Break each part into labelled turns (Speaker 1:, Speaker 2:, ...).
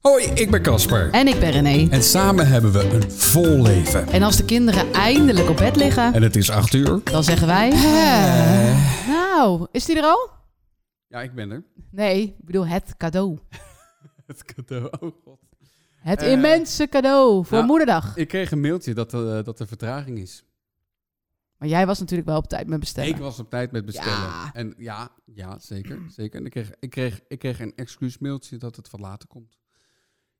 Speaker 1: Hoi, ik ben Casper.
Speaker 2: En ik ben René.
Speaker 1: En samen hebben we een vol leven.
Speaker 2: En als de kinderen eindelijk op bed liggen,
Speaker 1: En het is acht uur.
Speaker 2: dan zeggen wij... Nou, is die er al?
Speaker 1: Ja, ik ben er.
Speaker 2: Nee, ik bedoel het cadeau.
Speaker 1: Het cadeau. Oh god.
Speaker 2: Het
Speaker 1: Eh,
Speaker 2: immense cadeau voor
Speaker 1: nou,
Speaker 2: moederdag.
Speaker 1: Ik kreeg een mailtje dat, eh, dat er vertraging is.
Speaker 2: Maar jij was natuurlijk wel op tijd met bestellen.
Speaker 1: Ik was op tijd met bestellen.
Speaker 2: Ja.
Speaker 1: En ja, ja zeker, zeker. En ik kreeg, ik, kreeg, ik kreeg een excuus mailtje dat het wat later komt.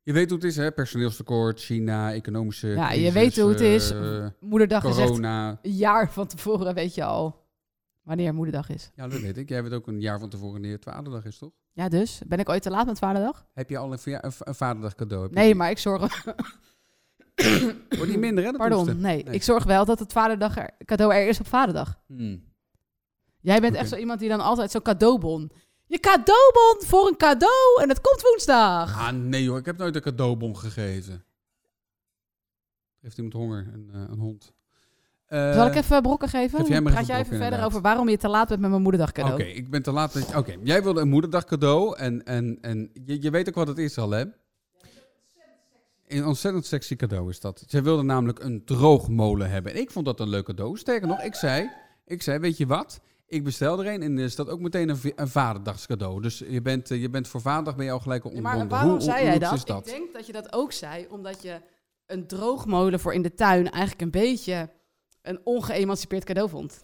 Speaker 1: Je weet hoe het is, hè? Personeelstekort, China, economische
Speaker 2: Ja, je
Speaker 1: crisis,
Speaker 2: weet hoe het is.
Speaker 1: eh,
Speaker 2: moederdag is echt
Speaker 1: corona.
Speaker 2: een jaar van tevoren, weet je al wanneer moederdag is.
Speaker 1: Ja, dat weet ik. Jij weet ook een jaar van tevoren neer het vaderdag is, toch?
Speaker 2: Ja, dus. Ben ik ooit te laat met vaderdag?
Speaker 1: Heb je al een, verja- een v- een vaderdag cadeau? Heb je
Speaker 2: Nee,
Speaker 1: die?
Speaker 2: maar ik zorg...
Speaker 1: Wordt niet minder, hè? dat
Speaker 2: Pardon,
Speaker 1: hoefde.
Speaker 2: nee. Ik zorg wel dat het vaderdag er, cadeau er is op vaderdag.
Speaker 1: Hmm.
Speaker 2: Jij bent
Speaker 1: Oké.
Speaker 2: echt zo iemand die dan altijd zo'n cadeaubon. Je cadeaubon voor een cadeau en het komt woensdag.
Speaker 1: Ah, nee hoor. Ik heb nooit een cadeaubon gegeven. Heeft iemand honger? Een, eh, een hond. Eh,
Speaker 2: Zal ik even brokken geven?
Speaker 1: geef jij maar
Speaker 2: Praat
Speaker 1: even
Speaker 2: jij
Speaker 1: brokken,
Speaker 2: even verder
Speaker 1: inderdaad.
Speaker 2: over waarom je te laat bent met mijn moederdag
Speaker 1: Oké,
Speaker 2: cadeau?
Speaker 1: ik ben te laat. dat- Oké, jij wilde een moederdag cadeau. En, en, en je, je weet ook wat het is al, hè? Een ontzettend sexy cadeau is dat. Zij wilde namelijk een droogmolen hebben. En ik vond dat een leuk cadeau. Sterker nog, ik zei, ik zei weet je wat? Ik bestel er een en is dat ook meteen een, v- een vaderdagscadeau. Dus je bent, eh, je bent voor vaderdag ben je al gelijk al
Speaker 2: Ja,
Speaker 1: ontbonden.
Speaker 2: maar waarom
Speaker 1: Hoe- hoe
Speaker 2: zei jij
Speaker 1: luxe is
Speaker 2: dat? Ik denk dat je dat ook zei omdat je een droogmolen voor in de tuin eigenlijk een beetje een ongeëmancipeerd cadeau vond.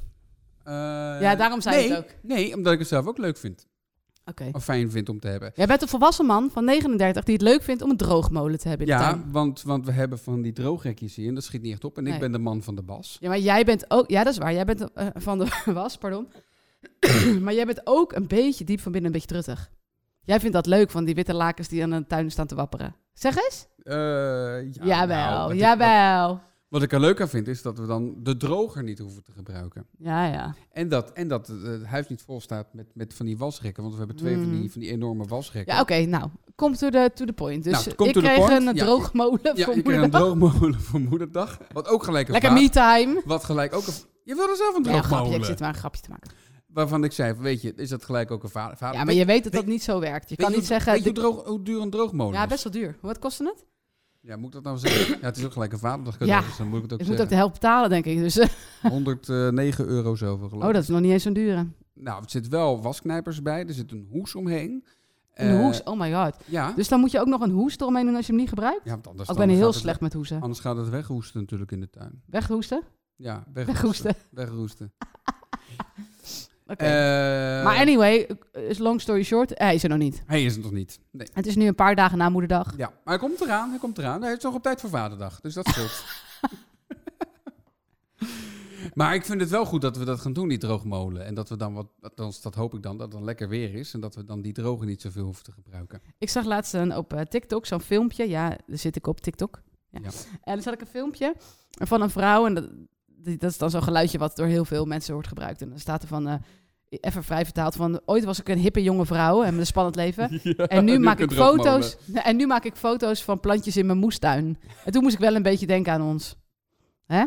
Speaker 2: Oké.
Speaker 1: Eh,
Speaker 2: Ja, daarom zei
Speaker 1: nee,
Speaker 2: je het ook.
Speaker 1: Nee, omdat ik het zelf ook leuk vind. Of fijn vind om te hebben.
Speaker 2: Jij bent een volwassen man van 39 die het leuk vindt om een droogmolen te hebben in de
Speaker 1: Ja,
Speaker 2: tuin.
Speaker 1: want, want we hebben van die droogrekjes hier en dat schiet niet echt op. En ik
Speaker 2: Nee.
Speaker 1: ben de man van de bas.
Speaker 2: Ja, maar jij bent ook... Ja, dat is waar. Jij bent eh, van de was, pardon. maar jij bent ook een beetje diep van binnen een beetje truttig. Jij vindt dat leuk van die witte lakens die aan een tuin staan te wapperen. Zeg eens.
Speaker 1: Eh, ja, nou,
Speaker 2: jawel,
Speaker 1: wat ik-
Speaker 2: jawel.
Speaker 1: wat- wat ik er leuk aan vind, is dat we dan de droger niet hoeven te gebruiken.
Speaker 2: Ja, ja.
Speaker 1: En dat, en dat eh, het huis niet vol staat met, met van die wasrekken. Want we hebben twee van,
Speaker 2: Mm.
Speaker 1: die, van die enorme wasrekken.
Speaker 2: Ja, oké. nou, kom to the, to the point. Dus
Speaker 1: Nou, come
Speaker 2: ik
Speaker 1: to the
Speaker 2: kreeg
Speaker 1: point.
Speaker 2: een
Speaker 1: Ja,
Speaker 2: droogmolen
Speaker 1: Ja,
Speaker 2: voor
Speaker 1: je krijgt een
Speaker 2: moederdag.
Speaker 1: droogmolen voor moederdag. Wat ook gelijk een
Speaker 2: Lekker
Speaker 1: va-
Speaker 2: me-time.
Speaker 1: Wat gelijk ook een... Je wilde zelf een
Speaker 2: Nee, een grapje.
Speaker 1: droogmolen. Ah,
Speaker 2: Ik zit maar een grapje te maken.
Speaker 1: waarvan ik zei, weet je, is dat gelijk ook een va- vader?
Speaker 2: Ja, maar je weet dat dat niet zo werkt. Je
Speaker 1: Weet
Speaker 2: kan
Speaker 1: je
Speaker 2: niet
Speaker 1: hoe-
Speaker 2: zeggen...
Speaker 1: Weet je
Speaker 2: de-
Speaker 1: hoe, droog, hoe duur een droogmolen
Speaker 2: Ja,
Speaker 1: is?
Speaker 2: best wel duur. Wat kostte het?
Speaker 1: Ja, moet ik dat nou zeggen? ja, het is ook gelijk een vaderdag cadeau,
Speaker 2: Ja,
Speaker 1: dus dan moet ik het ook
Speaker 2: Ik moet ook
Speaker 1: zeggen.
Speaker 2: de helft betalen, denk ik. Dus, eh,
Speaker 1: 109 euro zoveel geloof
Speaker 2: oh,
Speaker 1: ik.
Speaker 2: dat is nog niet eens zo'n dure.
Speaker 1: Nou, er zit wel wasknijpers bij, er zit een hoes omheen.
Speaker 2: Een
Speaker 1: Eh,
Speaker 2: hoes, oh my god.
Speaker 1: Ja,
Speaker 2: Dus dan moet je ook nog een hoes eromheen doen als je hem niet gebruikt?
Speaker 1: ja want anders
Speaker 2: Ook
Speaker 1: dan
Speaker 2: ben je heel
Speaker 1: gaat het-
Speaker 2: slecht met hoesen.
Speaker 1: Anders gaat het weghoesten natuurlijk in de tuin.
Speaker 2: Weghoesten?
Speaker 1: Ja, weghoesten.
Speaker 2: Weghoesten.
Speaker 1: Weghoesten.
Speaker 2: Oké.
Speaker 1: Eh,
Speaker 2: maar anyway, is long story short, hij is er nog niet.
Speaker 1: Hij is het nog niet. Nee.
Speaker 2: Het is nu een paar dagen na moederdag.
Speaker 1: Ja, maar hij komt eraan, hij komt eraan. Hij is nog op tijd voor vaderdag, dus dat scheelt. maar ik vind het wel goed dat we dat gaan doen, die droogmolen. En dat we dan, wat, althans dat hoop ik dan, dat het dan lekker weer is. En dat we dan die drogen niet zoveel hoeven te gebruiken.
Speaker 2: Ik zag laatst een, op eh, TikTok zo'n filmpje. Ja, daar zit ik op TikTok. Ja.
Speaker 1: Ja.
Speaker 2: En dan zag ik een filmpje van een vrouw. En dat, die- dat is dan zo'n geluidje wat door heel veel mensen wordt gebruikt. En dan staat er van, eh, even vrij vertaald, van ooit was ik een hippe jonge vrouw en met een spannend leven. En nu, maak ik foto's. En nu maak ik foto's van plantjes in mijn moestuin. En toen moest ik wel een beetje denken aan ons.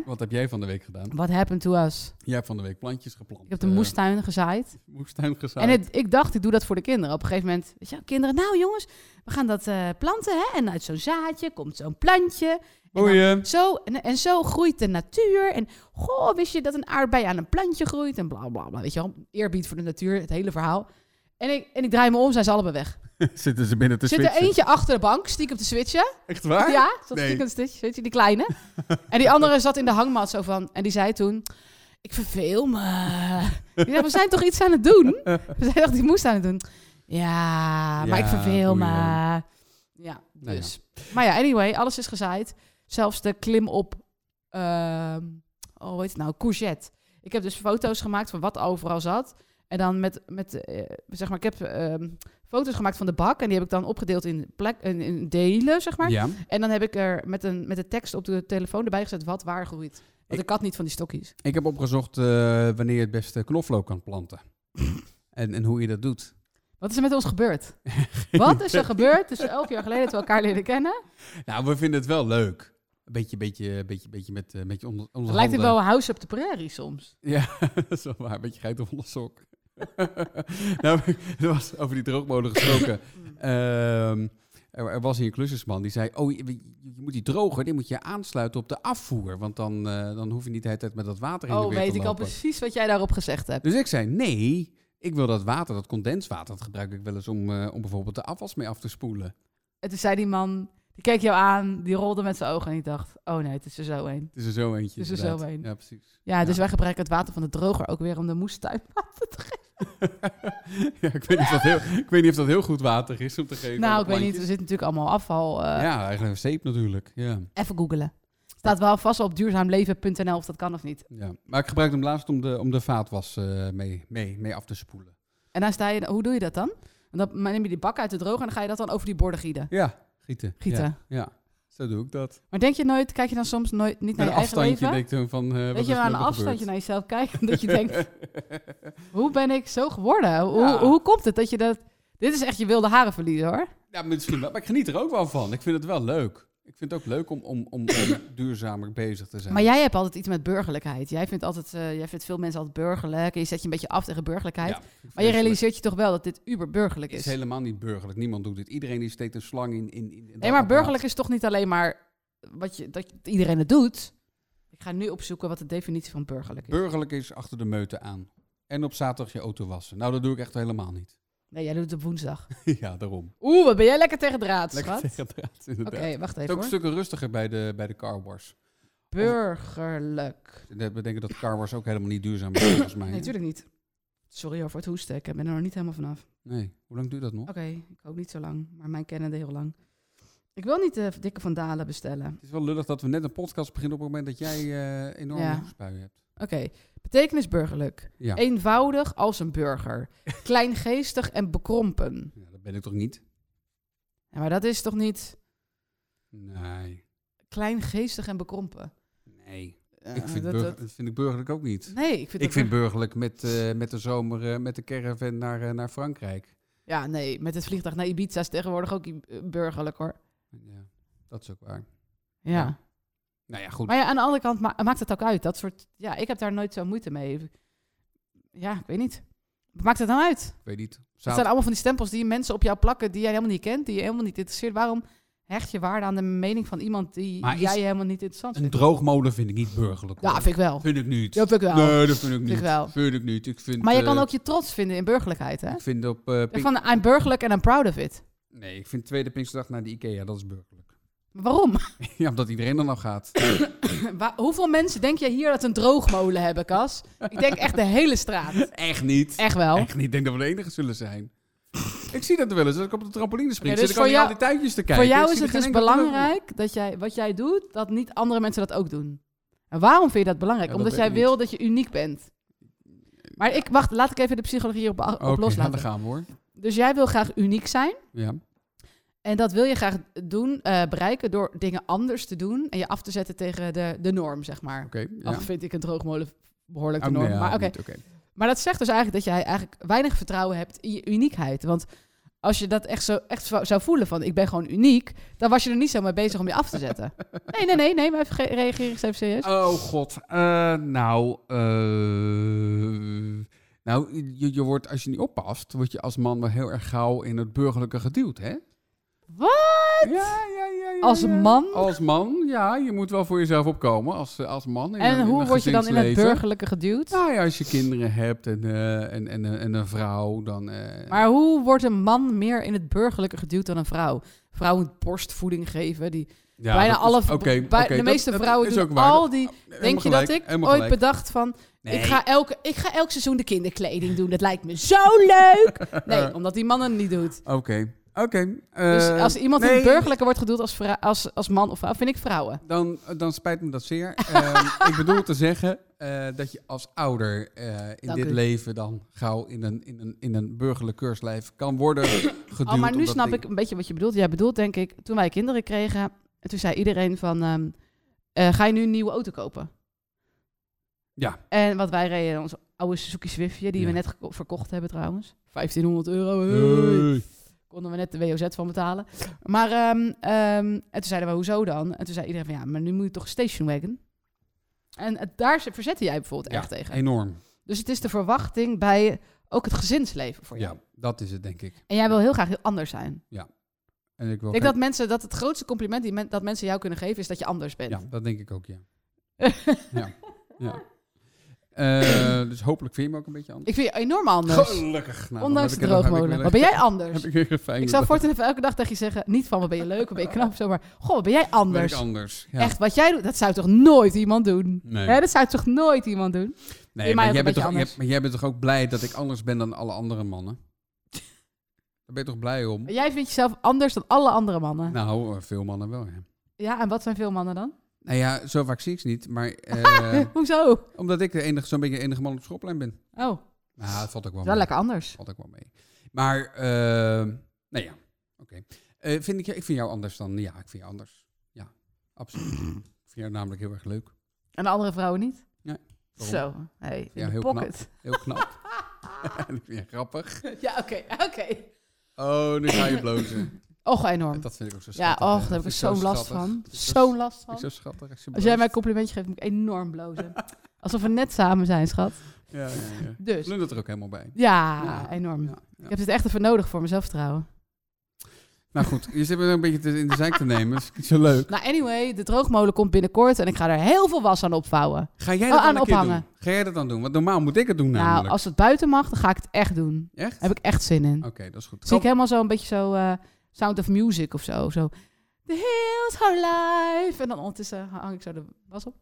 Speaker 1: Wat heb jij van de week gedaan?
Speaker 2: What happened to us?
Speaker 1: Jij hebt van de week plantjes geplant.
Speaker 2: Ik heb de
Speaker 1: eh,
Speaker 2: moestuin gezaaid.
Speaker 1: moestuin gezaaid.
Speaker 2: En het, ik dacht, ik doe dat voor de kinderen. Op een gegeven moment, weet je, wel, kinderen, nou jongens, we gaan dat eh, planten. Hè? En uit zo'n zaadje komt zo'n plantje. En dan-
Speaker 1: Boeien.
Speaker 2: Zo, en, en zo groeit de natuur. En goh, wist je dat een aardbei aan een plantje groeit? En bla bla bla. Weet je wel, eerbied voor de natuur, het hele verhaal. En ik, en ik draai me om, zijn ze allebei weg.
Speaker 1: Zitten ze binnen te
Speaker 2: Zit er eentje achter de bank, stiekem te switchen.
Speaker 1: Echt waar?
Speaker 2: Ja,
Speaker 1: Nee.
Speaker 2: zat nee. stiekem stitch, weet je, die kleine. en die andere zat in de hangmat zo van. En die zei toen, ik verveel me. Ik zei, we zijn toch iets aan het doen? Zij dacht, die moest aan het doen. Ja, maar ik
Speaker 1: Ja,
Speaker 2: verveel me.
Speaker 1: boeien.
Speaker 2: Ja,
Speaker 1: Nou ja.
Speaker 2: dus. Maar ja, anyway, alles is gezaaid. Zelfs de klim op, ehm oh, hoe heet het nou, courgette. Ik heb dus foto's gemaakt van wat overal zat. En dan met, met eh, zeg maar, ik heb ehm, foto's gemaakt van de bak. En die heb ik dan opgedeeld in, plek, in, in delen, zeg maar.
Speaker 1: Ja.
Speaker 2: En dan heb ik er met een, met de tekst op de telefoon erbij gezet wat waar groeit. Want ik had niet van die stokjes.
Speaker 1: Ik heb opgezocht eh, wanneer je het beste knoflook kan planten. en, en hoe je dat doet.
Speaker 2: Wat is er met ons gebeurd? Wat is er gebeurd tussen elf jaar geleden dat we elkaar leren kennen?
Speaker 1: Nou, we vinden het wel leuk. Een beetje, beetje, beetje, beetje met eh, een beetje onder, onder
Speaker 2: Het lijkt het
Speaker 1: handen.
Speaker 2: wel een House up the Prairie soms.
Speaker 1: Ja, dat is wel waar. Een beetje geit op onder sok.
Speaker 2: Mm.
Speaker 1: nou, er was over die droogmolen gesproken. Ehm, Er, er was hier een klusjesman die zei, oh, je, je moet die droger, die moet je aansluiten op de afvoer. Want dan, eh, dan hoef je niet de hele tijd met dat water in de
Speaker 2: Oh,
Speaker 1: weer te
Speaker 2: weet ik al
Speaker 1: lopen.
Speaker 2: precies wat jij daarop gezegd hebt.
Speaker 1: Dus ik zei, nee, ik wil dat water, dat condenswater, dat gebruik ik wel eens om, eh, om bijvoorbeeld de afwas mee af te spoelen.
Speaker 2: En toen zei die man, die keek jou aan, die rolde met zijn ogen en ik dacht, oh nee, het is er zo een.
Speaker 1: Het is er zo eentje.
Speaker 2: Het is er
Speaker 1: inderdaad.
Speaker 2: zo een.
Speaker 1: Ja, precies.
Speaker 2: Ja, dus
Speaker 1: Ja.
Speaker 2: wij gebruiken het water van de droger ook weer om de moestuin water te geven.
Speaker 1: ja, ik, weet niet of dat heel, ik weet niet of dat heel goed water is om te geven. aan
Speaker 2: Nou,
Speaker 1: de
Speaker 2: ik weet niet, er
Speaker 1: plantjes.
Speaker 2: zit natuurlijk allemaal afval. eh,
Speaker 1: Ja, eigenlijk een zeep natuurlijk. Ja,
Speaker 2: Even googelen. Staat wel vast op duurzaamleven.nl of dat kan of niet.
Speaker 1: ja. Maar ik gebruik hem laatst om de, om de vaatwas eh, mee, mee, mee af te spoelen.
Speaker 2: En dan sta je, hoe doe je dat dan? Want dan neem je die bak uit de droger en dan ga je dat dan over die borden gieten.
Speaker 1: Ja, gieten.
Speaker 2: gieten.
Speaker 1: Ja, ja. zo doe ik dat.
Speaker 2: Maar denk je nooit, kijk je dan soms nooit,
Speaker 1: Met
Speaker 2: niet naar je
Speaker 1: een
Speaker 2: eigen
Speaker 1: afstandje
Speaker 2: leven?
Speaker 1: denk ik toen van... eh, wat
Speaker 2: Weet
Speaker 1: is
Speaker 2: je,
Speaker 1: er
Speaker 2: maar aan een
Speaker 1: allemaal
Speaker 2: afstandje
Speaker 1: gebeurd?
Speaker 2: naar jezelf kijken, dat je denkt, hoe ben ik zo geworden? Hoe,
Speaker 1: Ja.
Speaker 2: hoe komt het dat je dat... Dit is echt je wilde haren verliezen, hoor.
Speaker 1: Ja, misschien wel. Maar ik geniet er ook wel van. Ik vind het wel leuk. Ik vind het ook leuk om, om, om, om duurzamer bezig te zijn.
Speaker 2: Maar jij hebt altijd iets met burgerlijkheid. Jij vindt, altijd, eh, jij vindt veel mensen altijd burgerlijk en je zet je een beetje af tegen burgerlijkheid.
Speaker 1: Ja,
Speaker 2: maar je
Speaker 1: vreselijk.
Speaker 2: realiseert je toch wel dat dit uber burgerlijk
Speaker 1: Het
Speaker 2: is.
Speaker 1: is helemaal niet burgerlijk. Niemand doet dit. Iedereen die steekt een slang in... in, in dat
Speaker 2: Nee, maar
Speaker 1: apparaat.
Speaker 2: burgerlijk is toch niet alleen maar wat je, dat je- dat iedereen het doet. Ik ga nu opzoeken wat de definitie van burgerlijk is.
Speaker 1: Burgerlijk is achter de meute aan. En op zaterdag je auto wassen. Nou, dat doe ik echt helemaal niet.
Speaker 2: nee, jij doet het op woensdag.
Speaker 1: ja, daarom.
Speaker 2: Oeh, wat ben jij lekker tegen draad,
Speaker 1: Lekker
Speaker 2: schat. Oké,
Speaker 1: tegen draad, inderdaad.
Speaker 2: wacht
Speaker 1: Het
Speaker 2: even
Speaker 1: is ook
Speaker 2: hoor.
Speaker 1: stukken rustiger bij de, bij de carwash.
Speaker 2: Burgerlijk.
Speaker 1: We denken dat carwash ook helemaal niet duurzaam is, volgens mij.
Speaker 2: Nee, natuurlijk niet. Sorry hoor voor het hoesten, ik ben er nog niet helemaal vanaf.
Speaker 1: Nee, hoe lang duurt dat nog?
Speaker 2: Oké, ik hoop niet zo lang, maar mijn kennende heel lang. Ik wil niet de dikke van Dalen bestellen.
Speaker 1: Het is wel lullig dat we net een podcast beginnen op het moment dat jij eh enorm
Speaker 2: Ja.
Speaker 1: hoofdbuien hebt.
Speaker 2: Oké, betekenis burgerlijk.
Speaker 1: Ja.
Speaker 2: Eenvoudig als een burger. Kleingeestig en bekrompen.
Speaker 1: ja, dat ben ik toch niet?
Speaker 2: Ja, maar dat is toch niet
Speaker 1: Nee.
Speaker 2: kleingeestig en bekrompen?
Speaker 1: Nee.
Speaker 2: Ja,
Speaker 1: ik vind,
Speaker 2: Eh, dat-
Speaker 1: burger-
Speaker 2: dat-
Speaker 1: dat vind ik burgerlijk ook niet.
Speaker 2: nee, ik vind,
Speaker 1: Ik
Speaker 2: dat
Speaker 1: vind
Speaker 2: burger-
Speaker 1: burgerlijk met, eh, met de zomer, eh, met de caravan naar, eh, naar Frankrijk.
Speaker 2: Ja, nee, met het vliegtuig naar Ibiza is tegenwoordig ook i- eh, burgerlijk hoor.
Speaker 1: Ja, dat is ook waar.
Speaker 2: Ja.
Speaker 1: Ja. Nou ja, goed.
Speaker 2: Maar ja, aan de andere kant ma- maakt het ook uit. Dat soort, ja, ik heb daar nooit zo moeite mee. Ja, ik weet niet. Wat Maakt het nou uit?
Speaker 1: Ik weet niet.
Speaker 2: Het
Speaker 1: Zaterdag-
Speaker 2: zijn allemaal van die stempels die mensen op jou plakken die jij helemaal niet kent, die je helemaal niet interesseert. Waarom hecht je waarde aan de mening van iemand die
Speaker 1: Maar is-
Speaker 2: jij helemaal niet interessant
Speaker 1: Een
Speaker 2: vindt?
Speaker 1: droogmolen vind ik niet burgerlijk.
Speaker 2: Ja,
Speaker 1: hoor.
Speaker 2: vind ik wel.
Speaker 1: Vind ik niet.
Speaker 2: Ja, vind ik wel.
Speaker 1: Nee, dat vind ik niet.
Speaker 2: Vind ik wel.
Speaker 1: Vind ik niet. Ik vind,
Speaker 2: Maar je
Speaker 1: eh,
Speaker 2: kan ook je trots vinden in burgerlijkheid, hè?
Speaker 1: Ik vind op... eh, Pink-
Speaker 2: Van, I'm burgerlijk en I'm proud of it.
Speaker 1: Nee, ik vind tweede Pinksterdag naar de Ikea, dat is burgerlijk.
Speaker 2: Maar Waarom?
Speaker 1: ja, omdat iedereen dan af gaat.
Speaker 2: Waar- hoeveel mensen denk jij hier dat een droogmolen hebben, Cas? Ik denk echt de hele straat.
Speaker 1: Echt niet.
Speaker 2: Echt wel.
Speaker 1: Echt niet. Ik denk dat we de enige zullen zijn. ik zie dat wel eens. Als ik op de trampoline spring,
Speaker 2: Oké, dus
Speaker 1: zit ik al
Speaker 2: voor
Speaker 1: die- al
Speaker 2: jou-
Speaker 1: die tuintjes te kijken.
Speaker 2: Voor
Speaker 1: Ik
Speaker 2: jou
Speaker 1: zie
Speaker 2: is
Speaker 1: er
Speaker 2: het
Speaker 1: geen
Speaker 2: dus
Speaker 1: enkele droogmolen.
Speaker 2: belangrijk dat jij, wat jij doet, dat niet andere mensen dat ook doen. En waarom vind je dat belangrijk?
Speaker 1: Ja, dat
Speaker 2: Omdat
Speaker 1: weet
Speaker 2: jij
Speaker 1: ik
Speaker 2: wil dat je uniek bent. Maar ik, wacht, laat ik even de psychologie hierop a- op
Speaker 1: Oké, nou, daar
Speaker 2: loslaten.
Speaker 1: gaan we hoor.
Speaker 2: Dus jij wil graag uniek zijn.
Speaker 1: Ja.
Speaker 2: En dat wil je graag doen, eh, bereiken door dingen anders te doen. En je af te zetten tegen de, de norm, zeg maar.
Speaker 1: Oké. ja.
Speaker 2: Al vind ik een droogmolen behoorlijk Oh, de
Speaker 1: Oh, nee,
Speaker 2: norm.
Speaker 1: ja,
Speaker 2: maar, oké.
Speaker 1: niet, oké.
Speaker 2: maar dat zegt dus eigenlijk dat jij eigenlijk weinig vertrouwen hebt in je uniekheid. Want als je dat echt zo echt zo- zou voelen van ik ben gewoon uniek, dan was je er niet zo mee bezig om je af te zetten. Nee, nee, nee, nee, maar even ge- reageer eens even serieus.
Speaker 1: Oh god. Eh, nou, eh, nou je, je wordt, als je niet oppast, word je als man wel heel erg gauw in het burgerlijke geduwd, hè?
Speaker 2: Wat?
Speaker 1: Ja, ja, ja, ja,
Speaker 2: Als
Speaker 1: ja.
Speaker 2: man?
Speaker 1: Als man, ja. Je moet wel voor jezelf opkomen als, eh, als man. in een-
Speaker 2: En
Speaker 1: in
Speaker 2: hoe
Speaker 1: een
Speaker 2: word je dan in het
Speaker 1: gezinsleven.
Speaker 2: burgerlijke geduwd?
Speaker 1: Nou ja, als je kinderen hebt en, eh, en, en, en een vrouw, dan... eh,
Speaker 2: Maar hoe wordt een man meer in het burgerlijke geduwd dan een vrouw? Vrouwen moet borstvoeding geven. Die
Speaker 1: ja,
Speaker 2: bijna
Speaker 1: dat is-
Speaker 2: alle,
Speaker 1: oké,
Speaker 2: bij-
Speaker 1: oké,
Speaker 2: de
Speaker 1: dat-
Speaker 2: meeste
Speaker 1: dat
Speaker 2: vrouwen
Speaker 1: is
Speaker 2: doen
Speaker 1: ook waar.
Speaker 2: al die.
Speaker 1: Helemaal
Speaker 2: Denk je
Speaker 1: gelijk,
Speaker 2: dat ik ooit
Speaker 1: helemaal gelijk.
Speaker 2: bedacht van,
Speaker 1: Nee.
Speaker 2: ik, ga elke, ik ga elk seizoen de kinderkleding doen. Dat lijkt me zo leuk. Nee, omdat die mannen het niet doet.
Speaker 1: Oké, oké.
Speaker 2: Dus
Speaker 1: eh,
Speaker 2: als iemand in
Speaker 1: nee,
Speaker 2: het burgerlijke wordt geduwd als, vrou- als, als man of vrouw, vind ik vrouwen.
Speaker 1: Dan, eh, dan spijt me dat zeer. Ehm, ik bedoel te zeggen eh, dat je als ouder eh, in
Speaker 2: Dank
Speaker 1: dit
Speaker 2: u.
Speaker 1: leven dan gauw in een, in een, in een burgerlijk keurslijf kan worden geduwd.
Speaker 2: Oh, maar nu
Speaker 1: omdat
Speaker 2: snap
Speaker 1: dingen-
Speaker 2: ik een beetje wat je bedoelt. Jij bedoelt denk ik, toen wij kinderen kregen, en toen zei iedereen van, ehm, eh, ga je nu een nieuwe auto kopen?
Speaker 1: Ja,
Speaker 2: En wat wij reden, onze oude Suzuki Swiftje, die
Speaker 1: Ja.
Speaker 2: we net geko- verkocht hebben trouwens. 1500 euro. hey.
Speaker 1: Hey.
Speaker 2: Konden we net de WOZ van betalen. Maar ehm, ehm, en toen zeiden we, hoezo dan? En toen zei iedereen van, ja, maar nu moet je toch station wagon? En het- daar z- verzette jij bijvoorbeeld
Speaker 1: Ja,
Speaker 2: echt tegen.
Speaker 1: enorm.
Speaker 2: Dus het is de verwachting bij ook het gezinsleven voor jou.
Speaker 1: Ja, dat is het denk ik.
Speaker 2: En jij wil heel graag heel anders zijn.
Speaker 1: Ja. En ik wil
Speaker 2: Ik denk
Speaker 1: geen-
Speaker 2: dat mensen dat het grootste compliment die men- dat mensen jou kunnen geven is dat je anders bent.
Speaker 1: Ja, dat denk ik ook, ja. ja. ja. Eh, dus hopelijk vind je me ook een beetje anders.
Speaker 2: Ik vind je enorm anders.
Speaker 1: Gelukkig. Nou, dan
Speaker 2: ondanks de
Speaker 1: heb ik er nog- heb ik
Speaker 2: droogmolen.
Speaker 1: weer
Speaker 2: Wat ben jij
Speaker 1: een-
Speaker 2: anders?
Speaker 1: Heb ik weer een fijn
Speaker 2: Ik zou voortaan even elke dag tegen je zeggen, niet van wat ben je leuk, wat ben je knap, of zo, maar goh, wat ben jij
Speaker 1: Ben
Speaker 2: anders?
Speaker 1: ik anders. Ja.
Speaker 2: Echt, wat jij doet, dat zou toch nooit iemand doen?
Speaker 1: Nee.
Speaker 2: Hè, dat zou toch nooit iemand doen?
Speaker 1: Nee, maar
Speaker 2: Doe mij ook
Speaker 1: jij,
Speaker 2: een
Speaker 1: bent
Speaker 2: beetje
Speaker 1: toch, jij,
Speaker 2: anders.
Speaker 1: maar jij bent toch ook blij dat ik anders ben dan alle andere mannen? Daar ben je toch blij om?
Speaker 2: Maar Jij vindt jezelf anders dan alle andere mannen.
Speaker 1: Nou, eh, veel mannen wel, ja.
Speaker 2: Ja, en wat zijn veel mannen dan?
Speaker 1: Nou ja, zo vaak zie ik ze niet, maar eh,
Speaker 2: Hoezo?
Speaker 1: omdat ik de enige, zo'n beetje de enige man op schoolplein ben.
Speaker 2: Oh,
Speaker 1: Nou, dat valt ook wel
Speaker 2: is
Speaker 1: mee.
Speaker 2: wel lekker anders.
Speaker 1: Valt ook wel mee. Maar, eh nou ja, oké. Eh, vind ik, ik vind jou anders dan, ja, ik vind jou anders. Ja, absoluut. ik vind jou namelijk heel erg leuk.
Speaker 2: En de andere vrouwen niet?
Speaker 1: Nee. Waarom?
Speaker 2: Zo, hey, in
Speaker 1: Ja,
Speaker 2: de
Speaker 1: heel knap.
Speaker 2: pocket.
Speaker 1: Heel knap. en ik vind je grappig.
Speaker 2: ja, oké, oké.
Speaker 1: Oh, nu ga je blozen.
Speaker 2: Och, enorm.
Speaker 1: Dat vind ik ook zo
Speaker 2: Ja,
Speaker 1: schattig. hè.
Speaker 2: och, daar
Speaker 1: Dat
Speaker 2: heb ik er
Speaker 1: vind
Speaker 2: zo'n last
Speaker 1: schattig.
Speaker 2: van.
Speaker 1: Dat vind ik zo
Speaker 2: Zo'n last
Speaker 1: Vind
Speaker 2: van.
Speaker 1: ik zo schattig. Als, je
Speaker 2: Als jij mij
Speaker 1: bloost.
Speaker 2: een compliment geeft, moet ik enorm blozen. Alsof we net samen zijn, schat.
Speaker 1: Ja, ja, ja.
Speaker 2: Dus.
Speaker 1: Lul het er ook helemaal bij.
Speaker 2: Ja,
Speaker 1: Ja.
Speaker 2: enorm.
Speaker 1: Ja, ja.
Speaker 2: Ik heb dit echt even nodig voor mezelf trouwen.
Speaker 1: Nou goed, je zit me een beetje te- in de zijk te nemen. dus Dat is niet zo leuk.
Speaker 2: Nou, anyway, de droogmolen komt binnenkort en ik ga er heel veel was aan opvouwen.
Speaker 1: Ga jij
Speaker 2: Oh,
Speaker 1: dat dan
Speaker 2: aan
Speaker 1: een keer
Speaker 2: ophangen.
Speaker 1: doen? Ga jij dat dan doen? Want normaal moet ik het doen namelijk. Oh,
Speaker 2: Nou, als het buiten mag, dan ga ik het echt doen.
Speaker 1: Echt?
Speaker 2: Daar heb ik echt zin in.
Speaker 1: Oké, dat is goed.
Speaker 2: Zie
Speaker 1: Kan-
Speaker 2: ik helemaal zo een beetje zo eh, Sound of Music of zo. zo. The hills are life. En dan ondertussen hang ik zo de was op.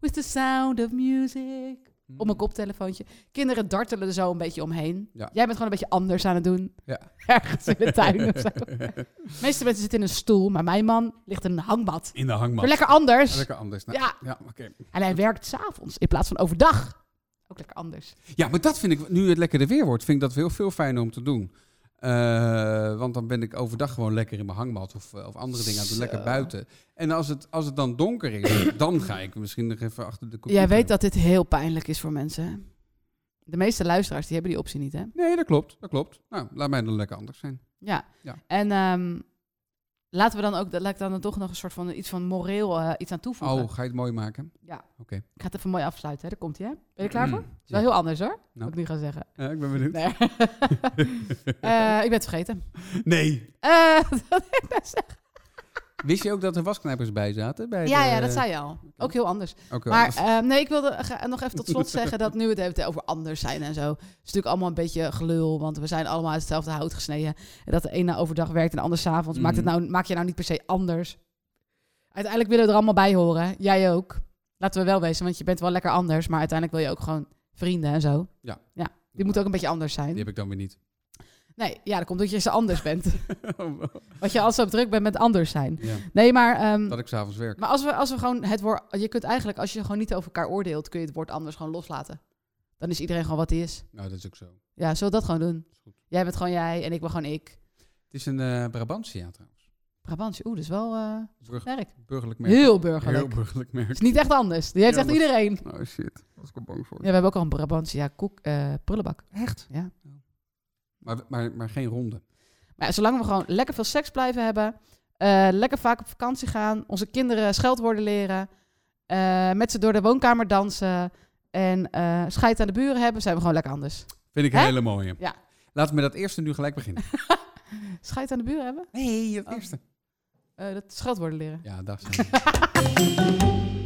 Speaker 2: With the sound of music. Op mijn koptelefoontje. Kinderen dartelen er zo een beetje omheen.
Speaker 1: Mm. Ja.
Speaker 2: Jij bent gewoon een beetje anders aan het doen.
Speaker 1: Ja.
Speaker 2: Ergens in de tuin of zo. De meeste mensen zitten in een stoel, maar mijn man ligt in een hangmat.
Speaker 1: In de
Speaker 2: Maar
Speaker 1: hangmat.
Speaker 2: lekker anders.
Speaker 1: Lekker anders. Nou,
Speaker 2: Ja.
Speaker 1: ja, oké.
Speaker 2: En hij werkt s'avonds in plaats van overdag. Ook lekker anders.
Speaker 1: ja, maar dat vind ik, nu het lekkerder weer wordt, vind ik dat heel veel fijner om te doen. Eh, want dan ben ik overdag gewoon lekker in mijn hangmat of, eh, of andere dingen aan het doen,
Speaker 2: Zo.
Speaker 1: lekker buiten. En als het, als het dan donker is, dan ga ik misschien nog even achter de computer.
Speaker 2: Jij weet dat dit heel pijnlijk is voor mensen. hè? De meeste luisteraars die hebben die optie niet, hè?
Speaker 1: Nee, dat klopt, dat klopt. Nou, laat mij dan lekker anders zijn.
Speaker 2: Ja.
Speaker 1: Ja.
Speaker 2: En ehm, laten we dan ook, laat ik dan toch nog een soort van iets van moreel eh, iets aan toevoegen.
Speaker 1: Oh, ga je het mooi maken?
Speaker 2: Ja.
Speaker 1: Oké.
Speaker 2: Ik ga het even mooi afsluiten, hè? daar komt hij. Ben je er klaar voor?
Speaker 1: Mm,
Speaker 2: is wel heel anders hoor,
Speaker 1: Nou.
Speaker 2: wat ik nu ga zeggen.
Speaker 1: ja. Ja, ik ben benieuwd.
Speaker 2: Nee. Eh, ik ben het vergeten.
Speaker 1: Nee.
Speaker 2: Eh, dat ik net zei.
Speaker 1: Wist je ook dat er wasknijpers bij zaten? Bij
Speaker 2: ja,
Speaker 1: de-
Speaker 2: ja, dat zei je al. Ook heel anders.
Speaker 1: Oké,
Speaker 2: Maar
Speaker 1: anders.
Speaker 2: ehm, nee, ik wilde gra- nog even tot slot zeggen dat nu we het hebben over anders zijn en zo. Het is natuurlijk allemaal een beetje gelul, want we zijn allemaal uit hetzelfde hout gesneden. En dat de een nou overdag werkt en de ander s'avonds. Maakt het
Speaker 1: Mhm.
Speaker 2: nou, maak je nou niet per se anders? Uiteindelijk willen we er allemaal bij horen. hè? Jij ook. Laten we wel wezen, want je bent wel lekker anders. Maar uiteindelijk wil je ook gewoon vrienden en zo.
Speaker 1: Ja.
Speaker 2: ja die moet ook een beetje anders zijn.
Speaker 1: Die heb ik dan weer niet.
Speaker 2: Nee, ja, dat komt omdat je zo anders bent. Oh, Want je al zo druk bent met anders zijn.
Speaker 1: ja,
Speaker 2: Nee, maar... ehm,
Speaker 1: dat ik s'avonds werk.
Speaker 2: maar als we, als we gewoon het woord. Je kunt eigenlijk, als je gewoon niet over elkaar oordeelt, kun je het woord anders gewoon loslaten. Dan is iedereen gewoon wat hij is.
Speaker 1: Nou, dat is ook zo.
Speaker 2: Ja, zullen we dat gewoon doen?
Speaker 1: Is goed.
Speaker 2: Jij bent gewoon jij en ik ben gewoon ik.
Speaker 1: Het is een eh Brabantse trouwens.
Speaker 2: Brabantje, oeh, dat is wel eh
Speaker 1: Burg-
Speaker 2: sterk.
Speaker 1: burgerlijk merk.
Speaker 2: Heel burgerlijk.
Speaker 1: Heel burgerlijk merk.
Speaker 2: is niet echt anders. Die heeft
Speaker 1: Ja,
Speaker 2: echt
Speaker 1: maar-
Speaker 2: iedereen.
Speaker 1: Oh shit, was ik wel bang voor.
Speaker 2: Ja, we hebben ook al een Brabantje ja, koek, eh, prullenbak.
Speaker 1: Echt?
Speaker 2: Ja.
Speaker 1: Maar, maar, maar geen ronde.
Speaker 2: Maar ja, zolang we gewoon lekker veel seks blijven hebben, eh, lekker vaak op vakantie gaan, onze kinderen scheldwoorden leren, eh, met ze door de woonkamer dansen en eh scheid aan de buren hebben, zijn we gewoon lekker anders.
Speaker 1: Vind ik een
Speaker 2: Hè?
Speaker 1: hele mooie.
Speaker 2: Ja.
Speaker 1: Laten we met dat eerste nu gelijk beginnen.
Speaker 2: Scheid aan de buren hebben?
Speaker 1: Nee, dat
Speaker 2: Oh. Eh, dat scheldwoorden leren.
Speaker 1: Ja, daar zijn we.